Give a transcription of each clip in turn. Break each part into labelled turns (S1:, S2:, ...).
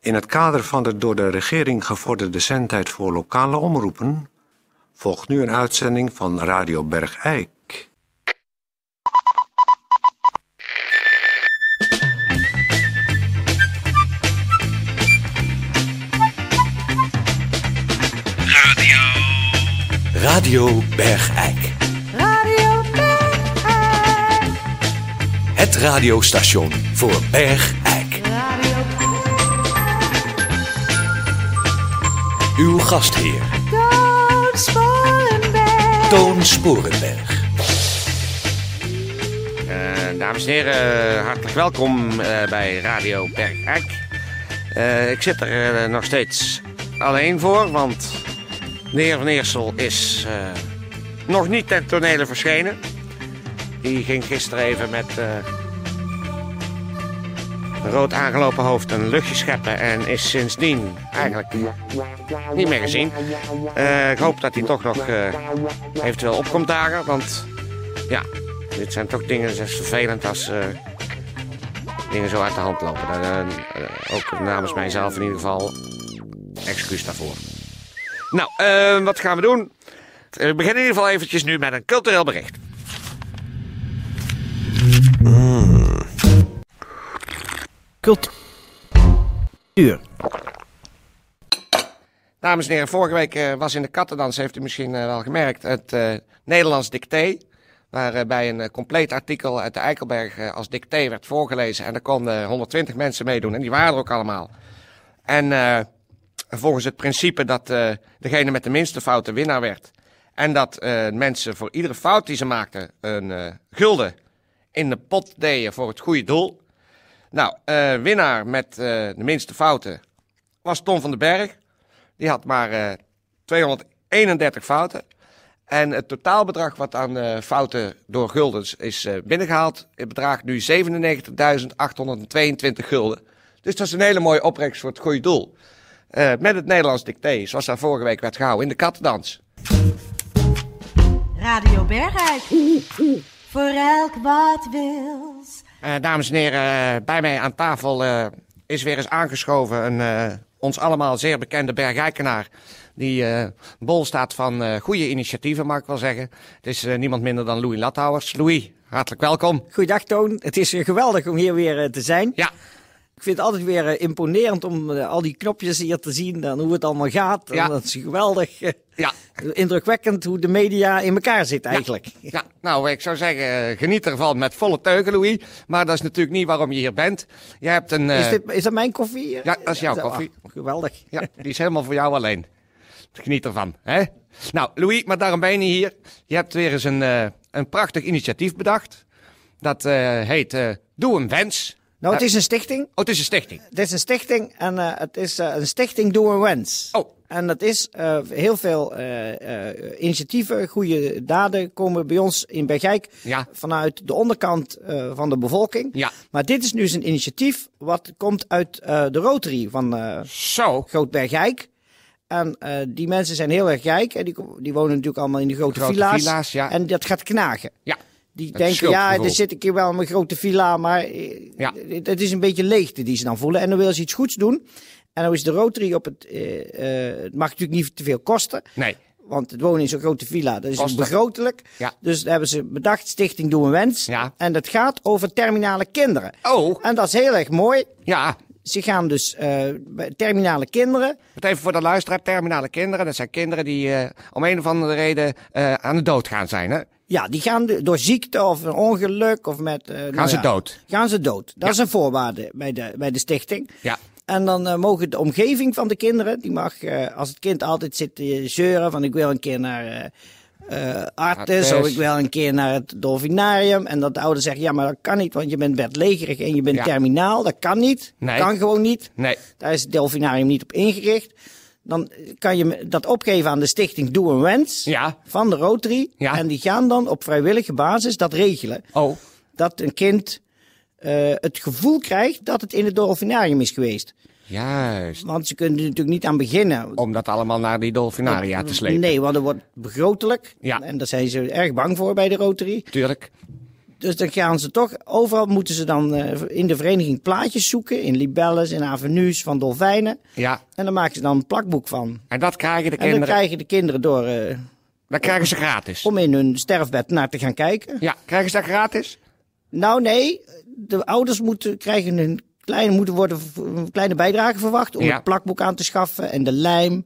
S1: In het kader van de door de regering gevorderde zendtijd voor lokale omroepen volgt nu een uitzending van Radio Bergijk.
S2: Radio Bergijk.
S3: Radio Bergijk.
S2: Het radiostation voor Bergijk.
S3: Radio
S2: Uw gastheer
S3: Toon Sporenberg.
S2: Toon Sporenberg.
S4: Eh, dames en heren, eh, hartelijk welkom eh, bij Radio Bergijk. Eh, ik zit er eh, nog steeds alleen voor, want de heer Van Eersel is eh, nog niet ten tonele verschenen. Die ging gisteren even met eh, een rood aangelopen hoofd een luchtje scheppen en is sindsdien eigenlijk niet meer gezien. Eh, ik hoop dat hij toch nog eh, eventueel opkomt dagen, want ja, dit zijn toch dingen, het is vervelend als eh, dingen zo uit de hand lopen. Dan, eh, eh, ook namens mijzelf in ieder geval, excuus daarvoor. Nou, eh, wat gaan we doen? We beginnen in ieder geval eventjes nu met een cultureel bericht.
S5: Cultuur.
S4: Dames en heren, vorige week eh, was in de kattendans, heeft u misschien eh, wel gemerkt, het eh, Nederlands dicté. Waarbij een eh, compleet artikel uit de Eikelberg eh, als dicté werd voorgelezen. En daar konden 120 mensen meedoen en die waren er ook allemaal. En eh, volgens het principe dat eh, degene met de minste fouten winnaar werd. En dat eh, mensen voor iedere fout die ze maakten een eh, gulden in de pot deden voor het goede doel. Nou, eh, winnaar met eh, de minste fouten was Tom van den Berg. Die had maar eh, 231 fouten. En het totaalbedrag wat aan eh, fouten door guldens is eh, binnengehaald, het bedraagt nu 97.822 gulden. Dus dat is een hele mooie opbrengst voor het goede doel. Eh, met het Nederlands dicté, zoals daar vorige week werd gehouden in de kattendans.
S3: Radio Bergijk. Voor elk wat wils.
S4: Eh, dames en heren, eh, bij mij aan tafel eh, is weer eens aangeschoven een eh, ons allemaal zeer bekende Bergijkenaar. Die eh, bol staat van eh, goede initiatieven, mag ik wel zeggen. Het is eh, niemand minder dan Louis Lathouwers. Louis, hartelijk welkom.
S5: Goeiedag Toon, het is eh, geweldig om hier weer eh, te zijn.
S4: Ja,
S5: Ik vind het altijd weer eh, imponerend om eh, al die knopjes hier te zien en hoe het allemaal gaat.
S4: Ja.
S5: En dat is geweldig eh,
S4: ja,
S5: indrukwekkend hoe de media in elkaar zit eigenlijk.
S4: ja. Nou, ik zou zeggen, eh, geniet ervan met volle teugen, Louis. Maar dat is natuurlijk niet waarom je hier bent. Je hebt een... eh,
S5: Is, dit, is dat mijn koffie?
S4: Ja, dat is jouw
S5: Ah,
S4: koffie.
S5: geweldig.
S4: Ja, die is helemaal voor jou alleen. Geniet ervan, hè? Nou, Louis, maar daarom ben je niet hier. Je hebt weer eens een, eh, een prachtig initiatief bedacht. Dat eh, heet eh, Doe een Wens.
S5: Nou, het is een stichting.
S4: Oh, het is een stichting.
S5: Het is een stichting en eh, het is eh, een stichting Doe een Wens.
S4: Oh.
S5: En dat is eh, heel veel eh, eh, initiatieven, goede daden komen bij ons in Bergijk
S4: Ja.
S5: vanuit de onderkant eh, van de bevolking.
S4: Ja.
S5: Maar dit is nu eens een initiatief wat komt uit eh, de Rotary van eh,
S4: Zo.
S5: Groot Bergijk. En eh, die mensen zijn heel erg rijk en die, ko- die wonen natuurlijk allemaal in de grote,
S4: Grote
S5: villa's.
S4: villa's, ja.
S5: En dat gaat knagen.
S4: Ja.
S5: Die
S4: Het
S5: denken, ja,
S4: schuldgevoel.
S5: er zit ik hier wel in mijn grote villa, maar eh,
S4: Ja.
S5: het het is een beetje leegte die ze dan voelen. En dan willen ze iets goeds doen. En dan is de Rotary op het, eh, eh, het mag natuurlijk niet te veel kosten.
S4: Nee.
S5: Want het wonen in zo'n grote villa, dat is
S4: Kosten.
S5: begrotelijk.
S4: Ja.
S5: Dus daar hebben ze bedacht, Stichting Doe een Wens.
S4: Ja.
S5: En dat gaat over terminale kinderen.
S4: Oh.
S5: En dat is heel erg mooi.
S4: Ja.
S5: Ze gaan dus eh, bij terminale kinderen,
S4: Want even voor de luisteraar, terminale kinderen. Dat zijn kinderen die eh, om een of andere reden eh, aan de dood gaan zijn, hè?
S5: Ja, die gaan de- door ziekte of een ongeluk of met... eh, nou
S4: ze
S5: ja,
S4: dood?
S5: Gaan ze dood.
S4: Ja.
S5: Dat is een voorwaarde bij de, bij de stichting.
S4: Ja.
S5: En dan eh, mogen de omgeving van de kinderen, die mag, eh, als het kind altijd zit te zeuren van ik wil een keer naar eh eh Artis of
S4: Artis.
S5: ik wil een keer naar het Dolfinarium. En dat de ouder zegt, ja maar dat kan niet, want je bent bedlegerig en je bent
S4: Ja.
S5: terminaal. Dat kan niet.
S4: Nee.
S5: Kan gewoon niet.
S4: Nee.
S5: Daar is het Delfinarium niet op ingericht. Dan kan je dat opgeven aan de stichting Doe een Wens
S4: Ja.
S5: van de Rotary.
S4: Ja.
S5: En die gaan dan op vrijwillige basis dat regelen.
S4: Oh.
S5: Dat een kind eh, het gevoel krijgt dat het in het dolfinarium is geweest.
S4: Juist.
S5: Want ze kunnen er natuurlijk niet aan beginnen.
S4: Om dat allemaal naar die dolfinaria te slepen.
S5: Nee, want er wordt begrotelijk.
S4: Ja.
S5: En daar zijn ze erg bang voor bij de Rotary.
S4: Tuurlijk.
S5: Dus dan gaan ze toch, overal moeten ze dan eh, in de vereniging plaatjes zoeken. In libelles, in avenues, van dolfijnen.
S6: Ja,
S5: En daar maken ze dan een plakboek van.
S6: en dat krijgen de
S5: En dan
S6: kinderen.
S5: krijgen de kinderen door eh,
S6: Dat krijgen ze gratis.
S5: om in hun sterfbed naar te gaan kijken.
S6: Ja, krijgen ze dat gratis?
S5: Nou nee, de ouders moeten, krijgen een kleine, moeten worden, een kleine bijdrage verwacht om
S6: Ja.
S5: het plakboek aan te schaffen en de lijm.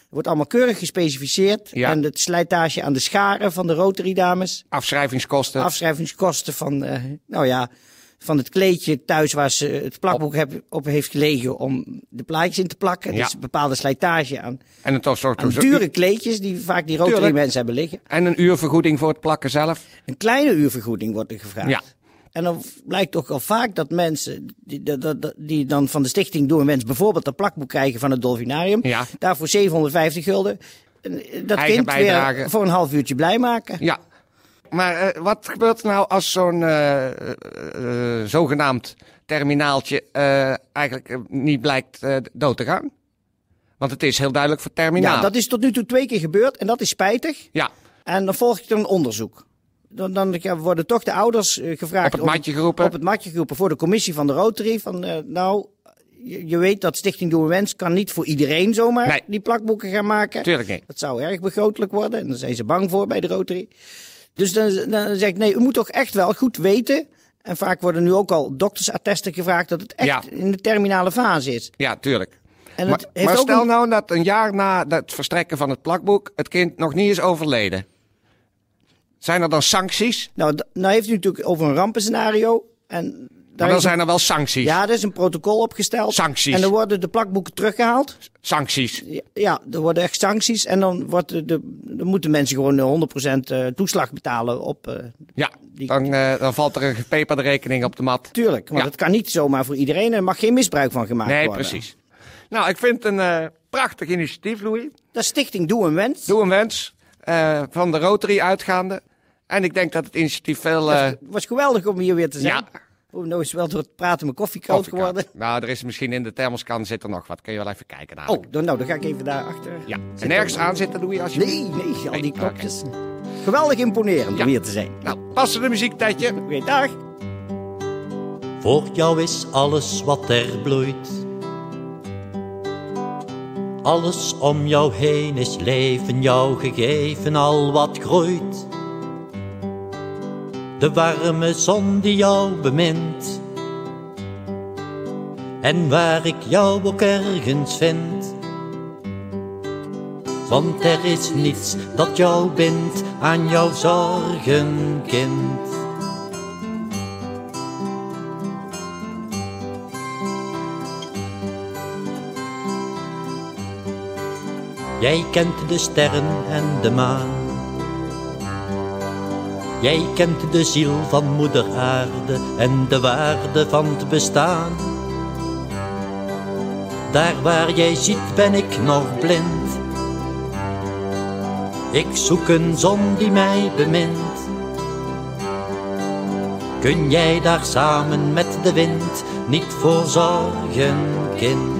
S5: Er wordt allemaal keurig gespecificeerd.
S6: Ja.
S5: En het slijtage aan de scharen van de Rotary dames.
S6: Afschrijvingskosten.
S5: Afschrijvingskosten van, eh, nou ja, van het kleedje thuis waar ze het plakboek heb- op heeft gelegen om de plaatjes in te plakken.
S6: Ja.
S5: Dus een bepaalde slijtage aan,
S6: en het was
S5: aan dure kleedjes die vaak die Rotary
S6: Tuurlijk.
S5: mensen hebben liggen.
S6: En een uurvergoeding voor het plakken zelf.
S5: Een kleine uurvergoeding wordt er gevraagd.
S6: Ja.
S5: En dan blijkt toch al vaak dat mensen die, dat- dat- dat- die dan van de stichting Doe een Wens bijvoorbeeld een plakboek krijgen van het Dolfinarium.
S6: Ja.
S5: Daarvoor 750 gulden. En, eh, Dat
S6: Eigen
S5: kind
S6: bijdrage.
S5: weer voor een half uurtje blij maken.
S6: Ja. Maar eh, wat gebeurt er nou als zo'n eh, eh, eh, zogenaamd terminaaltje eh, eigenlijk eh, niet blijkt eh, dood te gaan? Want het is heel duidelijk voor terminaal.
S5: Ja, dat is tot nu toe twee keer gebeurd en dat is spijtig.
S6: Ja,
S5: En dan volgt er een onderzoek. Dan, dan ja, worden toch de ouders eh, gevraagd.
S6: Op het
S5: om-
S6: matje geroepen.
S5: Op het matje geroepen voor de commissie van de Rotary. Van, eh, nou, je, je weet dat Stichting Doe een Wens kan niet voor iedereen zomaar
S6: Nee.
S5: die plakboeken gaan maken.
S6: tuurlijk niet.
S5: Dat zou erg begrotelijk worden. En daar zijn ze bang voor bij de Rotary. Dus dan, dan zeg ik, nee, u moet toch echt wel goed weten. En vaak worden nu ook al doktersattesten gevraagd dat het echt
S6: Ja.
S5: in de terminale fase is.
S6: Ja, tuurlijk.
S5: En
S6: maar
S5: het heeft
S6: maar
S5: ook
S6: stel
S5: een-
S6: nou dat een jaar na het verstrekken van het plakboek het kind nog niet is overleden. Zijn er dan sancties?
S5: Nou, d- nou heeft u natuurlijk over een rampenscenario. En daar
S6: Maar dan
S5: is een-
S6: zijn er wel sancties.
S5: ja, er is een protocol opgesteld.
S6: Sancties.
S5: En dan worden de plakboeken teruggehaald.
S6: Sancties.
S5: Ja, Ja, er worden echt sancties. En dan, wordt de, de, dan moeten mensen gewoon eh, 100% eh, toeslag betalen op... eh,
S6: Ja,
S5: Die-
S6: dan, eh, dan valt er een gepeperde rekening op de mat.
S5: tuurlijk, want
S6: Ja.
S5: het kan niet zomaar voor iedereen. en Er mag geen misbruik van gemaakt
S6: Nee,
S5: worden.
S6: precies. Nou, ik vind het een eh, prachtig initiatief, Louis.
S5: Dat is Stichting Doe een Wens.
S6: Doe een wens. eh, van de Rotary uitgaande. En ik denk dat het initiatief veel... eh
S5: Het was geweldig om hier weer te zijn.
S6: Ja.
S5: Oh, nou is wel door het praten mijn koffie koud
S6: koffie kan.
S5: geworden.
S6: Nou, er is misschien in de thermoskan zit er nog wat. Kun je wel even kijken naar.
S5: Oh, dan, nou, dan ga ik even daar achter.
S6: Ja. En nergens aan zitten, Louis, als je...
S5: Nee, nee, al die
S6: Nee, oké.
S5: knopjes. Geweldig imponerend
S6: Ja.
S5: om hier te zijn.
S6: Nou, passen de muziek, Tetje.
S5: Oké, dag.
S7: Voor jou is alles wat er bloeit. Alles om jou heen is leven jou gegeven, al wat groeit. De warme zon die jou bemint. En waar ik jou ook ergens vind. Want er is niets dat jou bindt aan jouw zorgen, kind. Jij kent de sterren en de maan. Jij kent de ziel van moeder aarde en de waarde van het bestaan. Daar waar jij ziet ben ik nog blind. Ik zoek een zon die mij bemint. Kun jij daar samen met de wind niet voor zorgen, kind?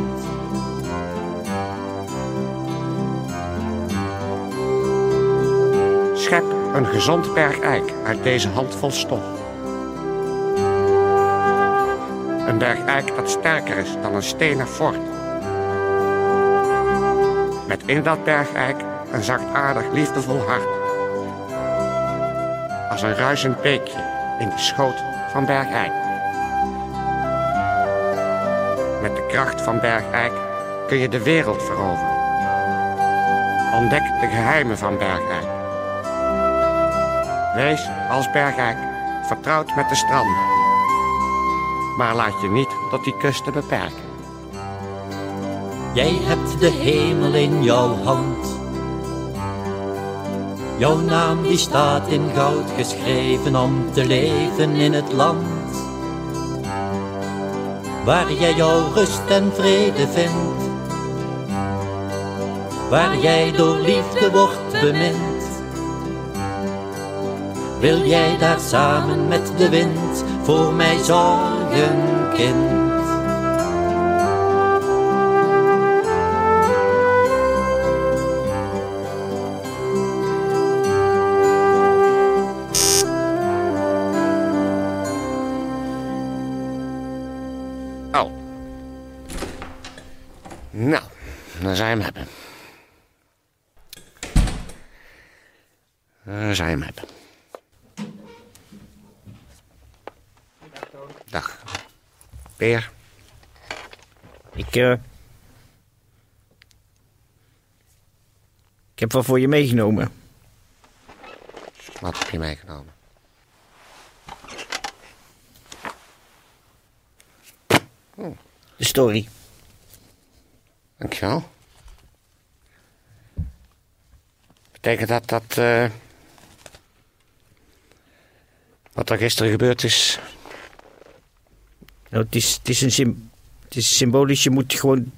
S6: Schep een gezond bergijk uit deze handvol stof. Een bergijk dat sterker is dan een stenen fort. Met in dat bergijk een zachtaardig liefdevol hart. Als een ruisend beekje in de schoot van bergijk. Met de kracht van bergijk kun je de wereld veroveren. Ontdek de geheimen van bergijk. Wees als Bergijk vertrouwd met de stranden. Maar laat je niet tot die kusten beperken.
S7: Jij hebt de hemel in jouw hand. Jouw naam die staat in goud geschreven om te leven in het land. Waar jij jouw rust en vrede vindt. Waar jij door liefde wordt bemind. Wil jij daar samen met de wind voor mij zorgen, kind?
S6: Oh. Nou, dan zijn we hem hebben. Dan zijn we hem hebben. Dag. Peer,
S5: Ik, eh, ik heb wat voor je meegenomen.
S6: wat heb je meegenomen?
S5: De story.
S6: Dankjewel. Betekent dat dat... eh, wat er gisteren gebeurd is...
S5: Nou, het, is, het, is een sym- het is symbolisch. Je moet gewoon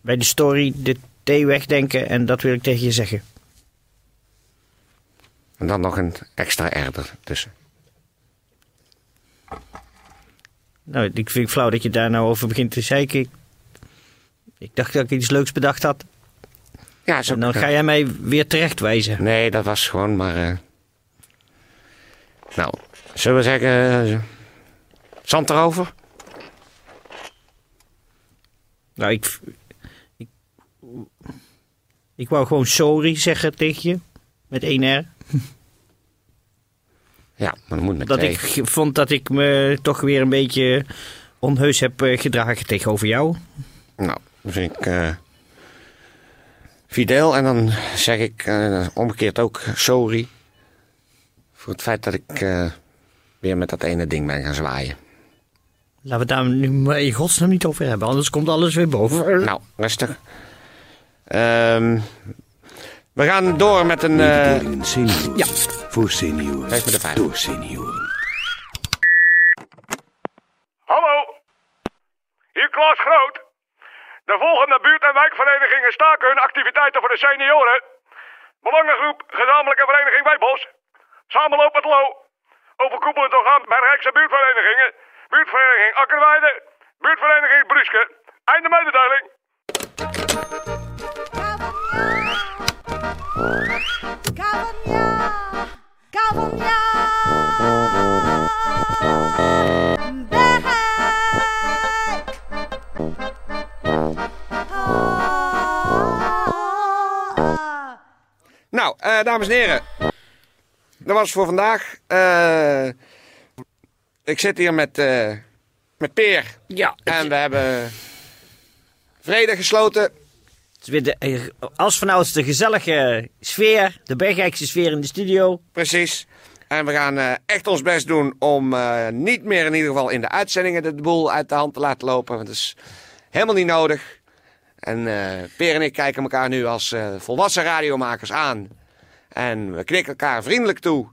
S5: bij de story de T wegdenken. En dat wil ik tegen je zeggen.
S6: En dan nog een extra R ertussen.
S5: Nou, ik vind het flauw dat je daar nou over begint te zeiken. Ik, ik dacht dat ik iets leuks bedacht had.
S6: Ja, zo
S5: En dan ga jij mij weer terechtwijzen.
S6: Nee, dat was gewoon maar. eh, Nou, zullen we zeggen. eh, zand erover?
S5: Nou, ik, ik... Ik wou gewoon sorry zeggen tegen je. Met één R.
S6: Ja, maar dat moet met
S5: Dat
S6: twee.
S5: ik ge- vond dat ik me toch weer een beetje onheus heb eh, gedragen tegenover jou.
S6: Nou, dan vind ik. eh, fidel. En dan zeg ik eh, omgekeerd ook sorry. Voor het feit dat ik. eh, weer met dat ene ding ben gaan zwaaien.
S5: Laten we het daar nu maar in godsnaam niet over hebben, anders komt alles weer boven.
S6: Nou, rustig. Ehm, we gaan door met een. eh,
S2: Mededelingen senioren. Ja. Voor senioren.
S6: Geef me de vijf.
S2: Door senioren.
S8: Hallo, hier Klaas Groot. De volgende buurt- en wijkverenigingen staken hun activiteiten voor de senioren. Belangengroep Gezamenlijke Vereniging Wijbos. Samenloop met Lo. Overkoepelend orgaan Bergijkse buurtverenigingen. Buurtvereniging Akkerweide. Buurtvereniging Bruske. Einde mededeling.
S3: Cavagna, Cavagna, back. Ah.
S6: Nou, eh, dames en heren. Dat was het voor vandaag. Eh, ik zit hier met, eh, met Peer.
S5: Ja,
S6: En we hebben vrede gesloten.
S5: het is weer de, eh, als vanouds de gezellige sfeer, de Bergijkse sfeer in de studio.
S6: Precies. En we gaan eh, echt ons best doen om eh, niet meer in ieder geval in de uitzendingen de boel uit de hand te laten lopen. Want dat is helemaal niet nodig. En eh Peer en ik kijken elkaar nu als eh, volwassen radiomakers aan. En we knikken elkaar vriendelijk toe.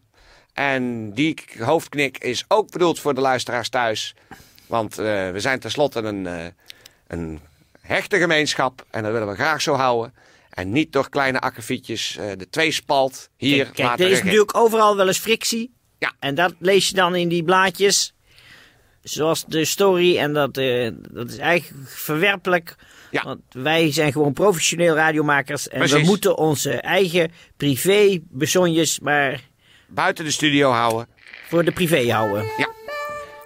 S6: En die k- hoofdknik is ook bedoeld voor de luisteraars thuis. Want eh, we zijn tenslotte een, eh, een hechte gemeenschap. En dat willen we graag zo houden. En niet door kleine akkefietjes eh, de tweespalt hier
S5: Kijk, kijk,
S6: laten
S5: er is
S6: regeren.
S5: natuurlijk overal wel eens frictie.
S6: Ja.
S5: En dat lees je dan in die blaadjes. Zoals de story, en dat, eh, dat is eigenlijk verwerpelijk.
S6: Ja.
S5: Want wij zijn gewoon professioneel radiomakers. En we
S6: Precies.
S5: moeten onze eigen privé besonjes maar
S6: buiten de studio houden.
S5: voor de privé houden.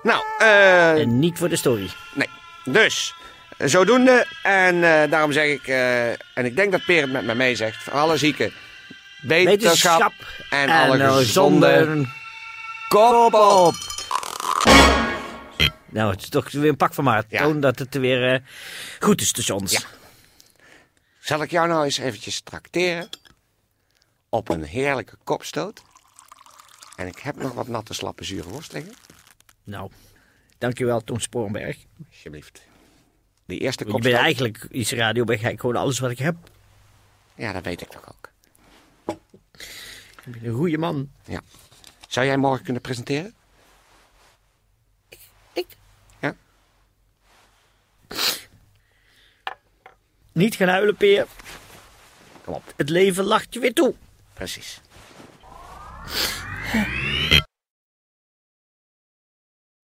S6: Nou, eh,
S5: En niet voor de story.
S6: nee. Dus, eh, zodoende. En eh, daarom zeg ik, eh, en ik denk dat Peer het met me mee zegt, voor alle zieken, wetenschap en, alle
S5: eh,
S6: gezonde
S5: zonden.
S6: kop op.
S5: Nou, het is toch weer een pak van maat.
S6: Ja.
S5: Toon dat het weer eh, goed is tussen ons.
S6: Ja. Zal ik jou nou eens eventjes trakteren op een heerlijke kopstoot? En ik heb nog wat natte slappe zure worst liggen.
S5: Nou, dankjewel Toon Sporenberg.
S6: Alsjeblieft. Die eerste
S5: Ik
S6: kopstoot.
S5: ben eigenlijk iets radio ben ik gewoon alles wat ik heb.
S6: Ja, dat weet ik toch ook.
S5: Ik ben een goede man.
S6: Ja. Zou jij morgen kunnen presenteren?
S5: Ik
S6: Ja?
S5: niet gaan huilen, Peer.
S6: Klopt.
S5: Het leven lacht je weer toe.
S6: Precies.